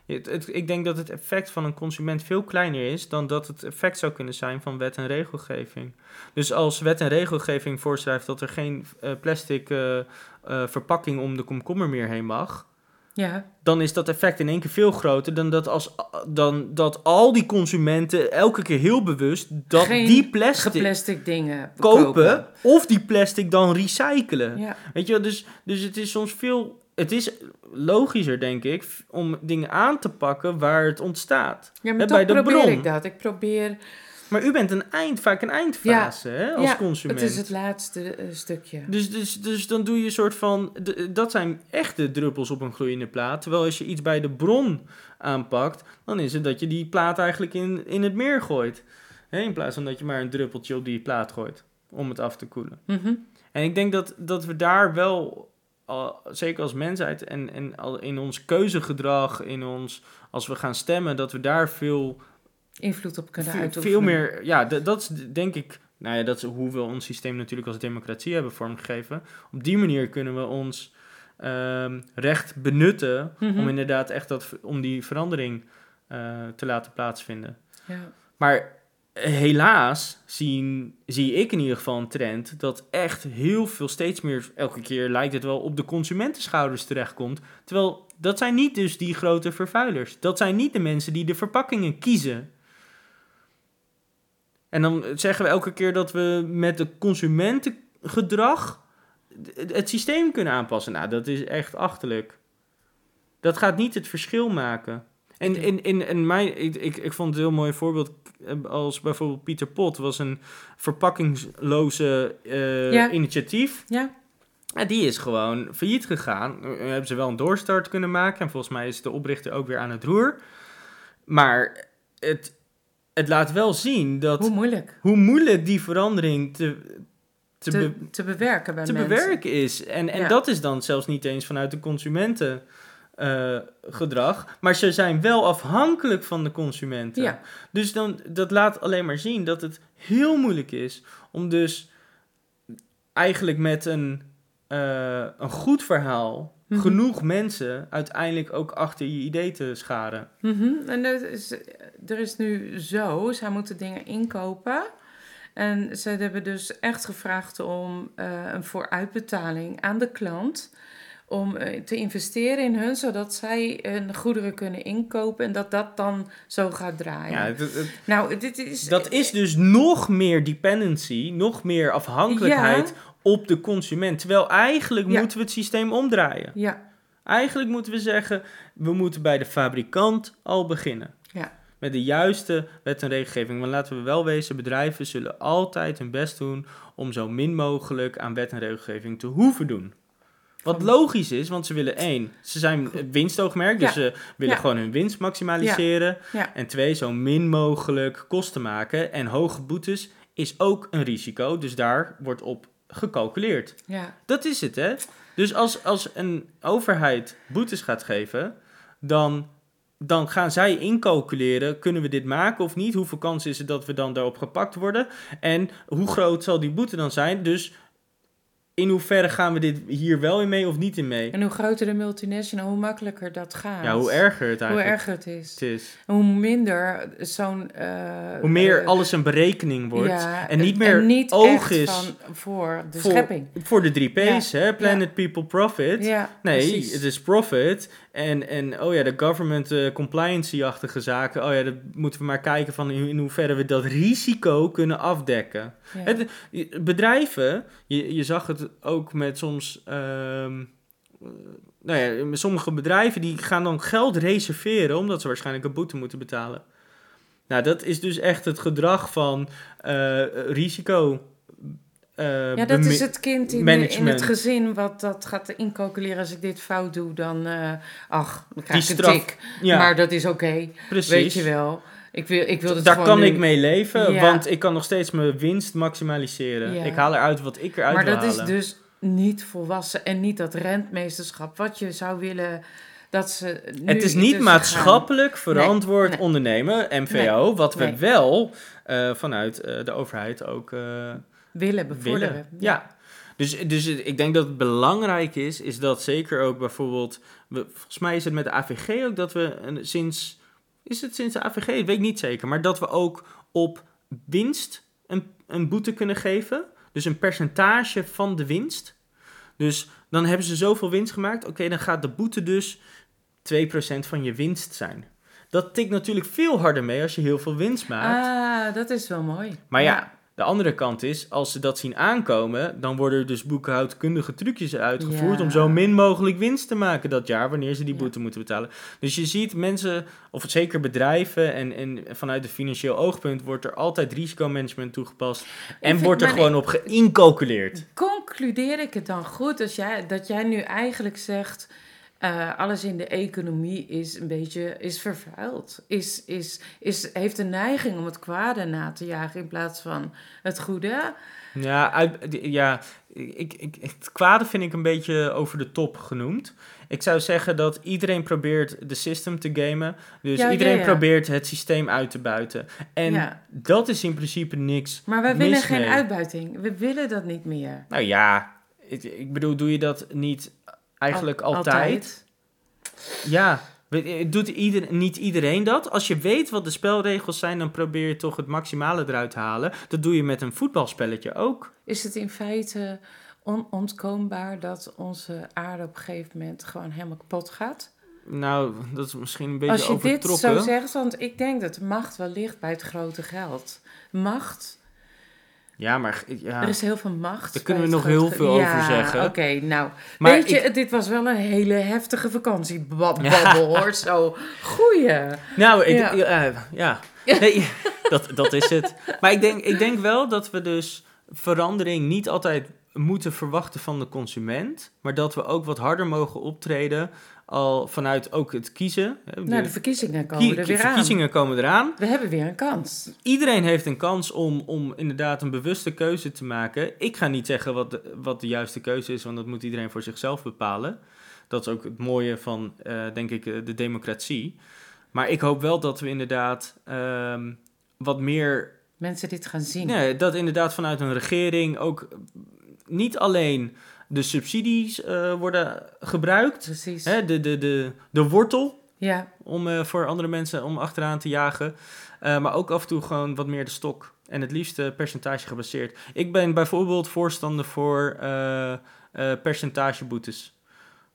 Het, het- ik denk dat het effect van een consument veel kleiner is dan dat het effect zou kunnen zijn van wet en regelgeving. Dus als wet en regelgeving voorschrijft dat er geen eh, plastic eh, eh, verpakking om de komkommer meer heen mag, Ja, dan is dat effect in één keer veel groter dan dat, als, eh, dan dat al die consumenten elke keer heel bewust dat Geen die plastic geplastic dingen kopen, of die plastic dan recyclen. Ja, Weet je wel, dus, dus het is soms veel. Het is logischer, denk ik, f- om dingen aan te pakken waar het ontstaat. ja maar Hè, toch bij de probeer bron. ik dat. Ik probeer Maar u bent een eind, vaak een eindfase hè, als Ja, consument. Het is het laatste eh, stukje. Dus, dus, dus dan doe je een soort van. d- Dat zijn echte druppels op een gloeiende plaat. Terwijl als je iets bij de bron aanpakt, dan is het dat je die plaat eigenlijk in, in het meer gooit. Hè, in plaats van dat je maar een druppeltje op die plaat gooit om het af te koelen. Mhm. En ik denk dat, dat we daar wel, al- zeker als mensheid en, en al in ons keuzegedrag, in ons, als we gaan stemmen, dat we daar veel Invloed op kunnen veel, uitoefenen. veel meer, ja, d- dat is d- denk ik, nou ja, dat is hoe we ons systeem natuurlijk als democratie hebben vormgegeven. Op die manier kunnen we ons ehm, recht benutten Mhm. om inderdaad echt dat, om die verandering eh, te laten plaatsvinden. Ja. Maar helaas zien, zie ik in ieder geval een trend dat echt heel veel, steeds meer, elke keer lijkt het wel op de consumentenschouders terechtkomt. Terwijl dat zijn niet dus die grote vervuilers. Dat zijn niet de mensen die de verpakkingen kiezen. En dan zeggen we elke keer dat we met het consumentengedrag het, het systeem kunnen aanpassen. Nou, dat is echt achterlijk. Dat gaat niet het verschil maken. En, in, in, in mijn, ik, ik, ik vond het een heel mooi voorbeeld eh, als bijvoorbeeld Pieter Pot was een verpakkingsloze eh, Ja. initiatief. Ja. En die is gewoon failliet gegaan. Nu hebben ze wel een doorstart kunnen maken. En volgens mij is de oprichter ook weer aan het roer. Maar het, het laat wel zien dat Hoe hoe, moeilijk moeilijk die verandering te, te, te, be- te, bewerken bij te mensen. bewerken is. En, en Ja. dat is dan zelfs niet eens vanuit de consumenten. eh, gedrag, maar ze zijn wel afhankelijk van de consumenten. Ja, Dus dan, dat laat alleen maar zien dat het heel moeilijk is om dus eigenlijk met een, eh, een goed verhaal Mhm. genoeg mensen uiteindelijk ook achter je idee te scharen. Mhm. en dat is, eh, er is nu zo, zij moeten dingen inkopen. En zij hebben dus echt gevraagd om eh, een vooruitbetaling aan de klant. Om eh, te investeren in hun, zodat zij hun goederen kunnen inkopen. En dat dat dan zo gaat draaien. Ja, het- het- nou, dit is... dat is dus nog meer dependency, nog meer afhankelijkheid op de consument. Terwijl eigenlijk Ja. moeten we het systeem omdraaien. Ja, Eigenlijk moeten we zeggen, we moeten bij de fabrikant al beginnen. ja. met de juiste wet en regelgeving. Want laten we wel wezen, bedrijven zullen altijd hun best doen om zo min mogelijk aan wet en regelgeving te hoeven doen. Wat Van- logisch is, want ze willen één, ze zijn winstoogmerk, dus Ja. ze willen Ja. gewoon hun winst maximaliseren. Ja. En twee, zo min mogelijk kosten maken. En hoge boetes is ook een risico, dus daar wordt op gecalculeerd. ja. Dat is het, hè? Dus als, als een overheid boetes gaat geven, dan, dan gaan zij incalculeren: kunnen we dit maken of niet? Hoeveel kans is het dat we dan daarop gepakt worden? En hoe groot zal die boete dan zijn? Dus in hoeverre gaan we dit hier wel in mee of niet in mee? En hoe groter de multinational, hoe makkelijker dat gaat. Ja, hoe erger het Hoe eigenlijk erger het is. het is. En Hoe minder zo'n... eh, Hoe meer eh, alles een berekening wordt ja, en niet meer niet oog echt is van voor de voor- schepping. voor de drie P's, hè? Planet, People, Profit. Ja, Nee, precies. het is profit. En, en oh ja, de government eh, compliancy-achtige zaken. Oh ja, dat moeten we maar kijken van in in hoeverre we dat risico kunnen afdekken. Ja. Het, bedrijven, je, je zag het ook met soms. ehm, eh, nou ja, met sommige bedrijven die gaan dan geld reserveren omdat ze waarschijnlijk een boete moeten betalen. Nou, dat is dus echt het gedrag van eh, risico. eh, ja, dat bemi- is het kind in, in management. het gezin wat dat gaat incalculeren. Als ik dit fout doe, dan... eh, ach, dan krijg Die ik straf- een tik. Ja, Maar dat is oké, precies. weet je wel. Ik wil, ik wil het Daar gewoon kan nu. ik mee leven, Ja. want ik kan nog steeds mijn winst maximaliseren. Ja. Ik haal eruit wat ik eruit Maar wil dat is halen. dus niet volwassen en niet dat rentmeesterschap wat je zou willen dat ze. Nu Het is niet dus maatschappelijk verantwoord nee. ondernemen, MVO, wat we nee. wel eh, vanuit eh, de overheid ook eh, gaan Willen bevorderen. willen. Ja. Dus, dus ik denk dat het belangrijk is, is dat zeker ook bijvoorbeeld... We, volgens mij is het met de AVG ook dat we een, sinds... Is het sinds de AVG? Dat weet ik niet zeker. Maar dat we ook op winst een, een boete kunnen geven. Dus een percentage van de winst. Dus dan hebben ze zoveel winst gemaakt. Oké, dan gaat de boete dus 2% van je winst zijn. Dat tikt natuurlijk veel harder mee als je heel veel winst maakt. Ah, dat is wel mooi. Maar ja, de andere kant is, als ze dat zien aankomen, dan worden er dus boekhoudkundige trucjes uitgevoerd Ja. om zo min mogelijk winst te maken dat jaar, wanneer ze die Ja. boete moeten betalen. Dus je ziet mensen, of zeker bedrijven, en, en vanuit het financieel oogpunt wordt er altijd risicomanagement toegepast en vind- wordt er maar gewoon op geïncalculeerd. Concludeer ik het dan goed als jij, dat jij nu eigenlijk zegt... eh, alles in de economie is een beetje is vervuild. Is, is, is, heeft een neiging om het kwade na te jagen in plaats van het goede. Ja, uit- ja ik, ik, het kwade vind ik een beetje over de top genoemd. Ik zou zeggen dat iedereen probeert de system te gamen. Dus Ja, ja, iedereen ja. probeert het systeem uit te buiten. En Ja. dat is in principe niks. Maar we Mis willen geen mee. uitbuiting. We willen dat niet meer. Nou ja, ik, ik bedoel, doe je dat niet eigenlijk Al- altijd? Ja, we- eh, doet ieder, niet iedereen dat? Als je weet wat de spelregels zijn, dan probeer je toch het maximale eruit te halen. Dat doe je met een voetbalspelletje ook. Is het in feite onontkoombaar dat onze aarde op een gegeven moment gewoon helemaal kapot gaat? Nou, dat is misschien een beetje Als je dit overtrokken. zo zegt, want ik denk dat de macht wel ligt bij het grote geld. Macht, Ja, maar ja. er is heel veel macht. Daar kunnen bij we het nog heel grote ge- veel Ja, over zeggen. Oké, nou. Maar weet je, ik- dit was wel een hele heftige vakantiebabbel hoor. Zo, goeie. nou, ik, Ja. ja. eh, ja. Nee, dat, dat is het. Maar ik denk, ik denk wel dat we dus verandering niet altijd moeten verwachten van de consument. Maar dat we ook wat harder mogen optreden. Al vanuit ook het kiezen. hè, Nou, de de verkiezingen komen kie- er weer aan. verkiezingen komen eraan. We hebben weer een kans. Iedereen heeft een kans om, om inderdaad een bewuste keuze te maken. Ik ga niet zeggen wat de, wat de juiste keuze is, want dat moet iedereen voor zichzelf bepalen. Dat is ook het mooie van, eh, denk ik, eh, de democratie. Maar ik hoop wel dat we inderdaad ehm, wat meer Mensen dit gaan zien. Nee, dat inderdaad vanuit een regering ook niet alleen de subsidies eh, worden gebruikt, Precies. hè, de, de, de, de wortel Ja, om eh, voor andere mensen om achteraan te jagen, eh, maar ook af en toe gewoon wat meer de stok en het liefst eh, percentage gebaseerd. Ik ben bijvoorbeeld voorstander voor eh, eh, percentageboetes.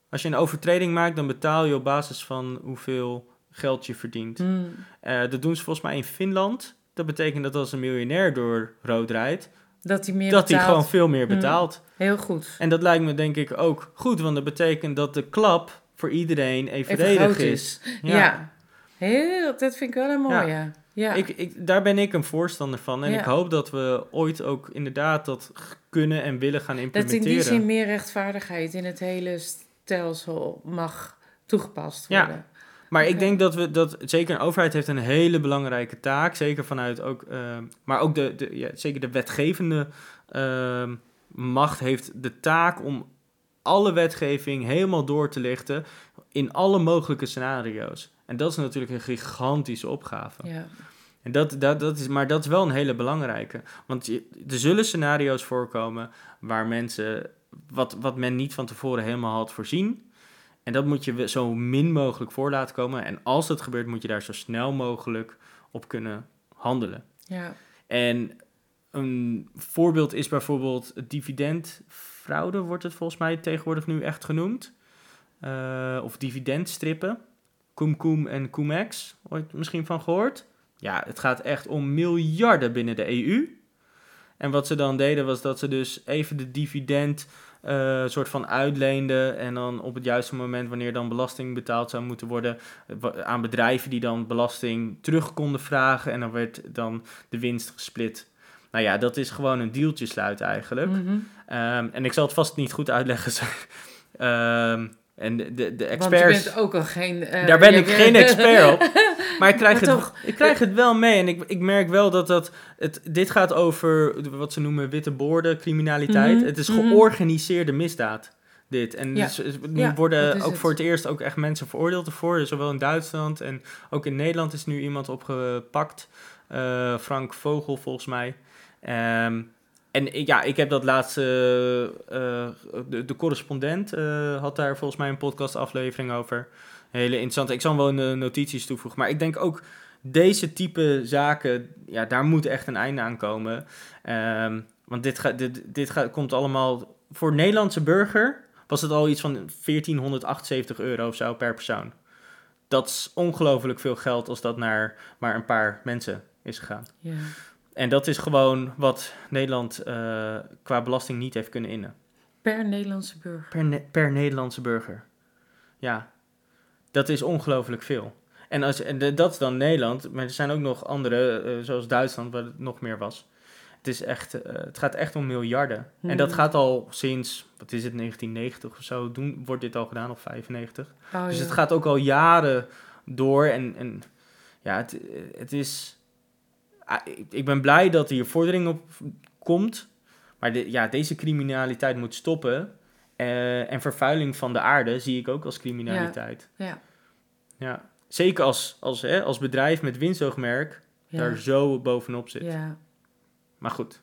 Als je een overtreding maakt, dan betaal je op basis van hoeveel geld je verdient. Hmm. Eh, dat doen ze volgens mij in Finland. Dat betekent dat als een miljonair door rood rijdt, dat hij meer dat hij betaalt. gewoon veel meer Hmm. betaalt. Heel goed. En dat lijkt me denk ik ook goed, want dat betekent dat de klap voor iedereen groot evenredig is. Ja. Heel, dat vind ik wel een mooie. Ja. Ik, ik, daar ben ik een voorstander van. En Ja. ik hoop dat we ooit ook inderdaad dat g- kunnen en willen gaan dat in implementeren. die zin meer rechtvaardigheid in het hele stelsel mag toegepast Ja. worden. Maar ik Oké. denk dat we dat zeker een overheid heeft een hele belangrijke taak, zeker vanuit ook, ehm, maar ook de, de ja, zeker de wetgevende ehm, macht heeft de taak om alle wetgeving helemaal door te lichten in alle mogelijke scenario's. En dat is natuurlijk een gigantische opgave. Ja. En dat, dat, dat is, maar dat is wel een hele belangrijke. Want je- er zullen scenario's voorkomen waar mensen wat, wat men niet van tevoren helemaal had voorzien. En dat moet je we- zo min mogelijk voor laten komen. En als dat gebeurt, moet je daar zo snel mogelijk op kunnen handelen. ja. En een voorbeeld is bijvoorbeeld het dividendfraude, wordt het volgens mij tegenwoordig nu echt genoemd. Eh, of dividendstrippen. Kumkum en Cumex, ooit misschien van gehoord. Ja, het gaat echt om miljarden binnen de EU. En wat ze dan deden was dat ze dus even de dividend eh, soort van uitleenden. En dan op het juiste moment, wanneer dan belasting betaald zou moeten worden, eh, wa- aan bedrijven die dan belasting terug konden vragen. En dan werd dan de winst gesplit. Nou ja, dat is gewoon een deeltje sluiten eigenlijk. Mhm. Ehm, en ik zal het vast niet goed uitleggen. zo. Ehm, en de, de, de Want je experts... bent ook al geen... eh, Daar ben jij ik bent- geen expert op. Maar ik krijg, Maar het, toch. ik krijg het wel mee. En ik, ik merk wel dat dat. Het, dit gaat over wat ze noemen witte borden, criminaliteit. Mhm, Het is mhm. georganiseerde misdaad. Dit. En Ja, dus, eh, nu ja, dat worden is ook het. voor het eerst ook echt mensen veroordeeld ervoor. Zowel in Duitsland en ook in Nederland is nu iemand opgepakt. Eh, Frank Vogel, volgens mij. Ehm, En ik- ja, ik heb dat laatste. eh, de, de correspondent eh, had daar volgens mij een podcastaflevering over. Een hele interessante. Ik zal hem wel in de notities toevoegen. Maar ik denk ook deze type zaken. Ja, daar moet echt een einde aan komen. Ehm, want dit, gaat dit, dit gaat komt allemaal. Voor Nederlandse burger was het al iets van 1478 euro of zo per persoon. Dat is ongelooflijk veel geld als dat naar maar een paar mensen is gegaan. Ja. En dat is gewoon wat Nederland eh, qua belasting niet heeft kunnen innen. Per Nederlandse burger. Per, Ne- per Nederlandse burger. Ja, dat is ongelooflijk veel. En, als, en de- dat is dan Nederland, maar er zijn ook nog andere, eh, zoals Duitsland, waar het nog meer was. Het, is echt, eh, het gaat echt om miljarden. En dat Hmm. gaat al sinds, wat is het, 1990 of zo, doen, wordt dit al gedaan, of 95. Oh, Dus ja. het gaat ook al jaren door. En, en ja, het, het is. ah, ik- Ik ben blij dat hier vordering op komt. Maar de, ja, deze criminaliteit moet stoppen. Eh, en vervuiling van de aarde zie ik ook als criminaliteit. Ja, Ja. Zeker als, als, hè, als bedrijf met winstoogmerk ja, daar zo bovenop zit. ja. Maar goed,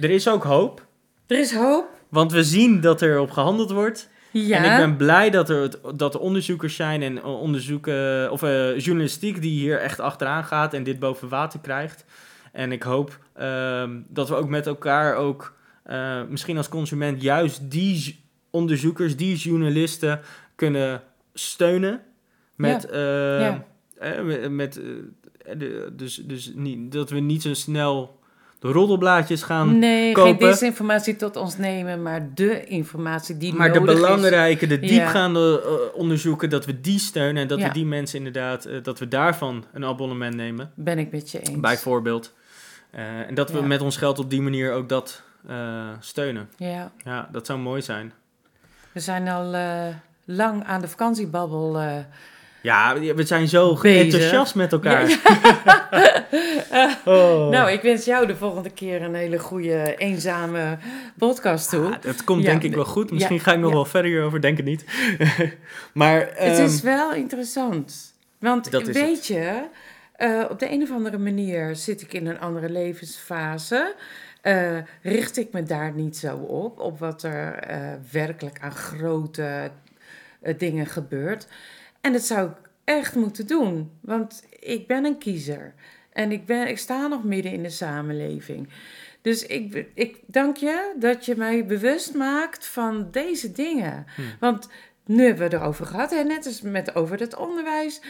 er is ook hoop. Er is hoop. Want we zien dat er op gehandeld wordt. Ja. En ik ben blij dat er, het- dat er onderzoekers zijn en eh, onderzoeken, of eh, journalistiek die hier echt achteraan gaat en dit boven water krijgt. En ik hoop ehm, dat we ook met elkaar ook, eh, misschien als consument, juist die j- onderzoekers, die journalisten kunnen steunen. Met, eh, Ja. eh, met- met, eh, de- dus, dus niet, dat we niet zo snel de roddelblaadjes gaan nee, kopen. geen desinformatie tot ons nemen, maar de informatie die Maar de nodig is. belangrijke, de Ja. diepgaande eh, onderzoeken, dat we die steunen en dat Ja. we die mensen inderdaad, eh, dat we daarvan een abonnement nemen, Ben ik met je eens. bijvoorbeeld. Eh, en dat we Ja. met ons geld op die manier ook dat eh, steunen. Ja, Ja, dat zou mooi zijn. we zijn al eh, lang aan de vakantiebabbel. eh, Ja, we zijn zo Bezig. enthousiast met elkaar. Ja, Oh. Nou, ik wens jou de volgende keer een hele goede, eenzame podcast toe. Ah, dat komt Ja, denk ik de- wel goed. ja, Misschien ga ik nog ja. wel verder hierover, denk het niet. maar het ehm, is wel interessant. Want dat is weet het. je, eh, op de een of andere manier zit ik in een andere levensfase. Eh, richt ik me daar niet zo op, op wat er eh, werkelijk aan grote eh, dingen gebeurt. En dat zou ik echt moeten doen, want ik ben een kiezer. En ik, ben, ik sta nog midden in de samenleving. Dus ik, ik dank je dat je mij bewust maakt van deze dingen. Hmm. Want nu hebben we het erover gehad, hè? net als met over het onderwijs.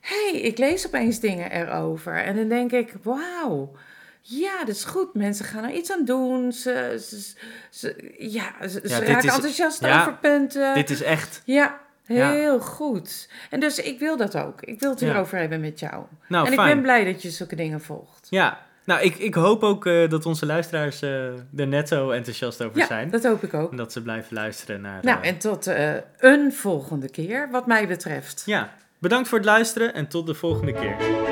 Hé, hey, ik lees opeens dingen erover. En dan denk ik, wauw. Ja, dat is goed. Mensen gaan er iets aan doen. Ze, ze, ze- ja, ze, ze dit raken is- enthousiast ja, over punten. dit is echt... Ja, Ja. heel goed. En dus ik wil dat ook. Ik wil het Ja. hierover hebben met jou. Nou, en fijn. ik ben blij dat je zulke dingen volgt. Ja, nou, ik, ik hoop ook eh, dat onze luisteraars eh, er net zo enthousiast over Ja, zijn. dat hoop ik ook. En dat ze blijven luisteren naar. Nou, eh, en tot eh, een volgende keer, wat mij betreft. Ja, bedankt voor het luisteren en tot de volgende keer.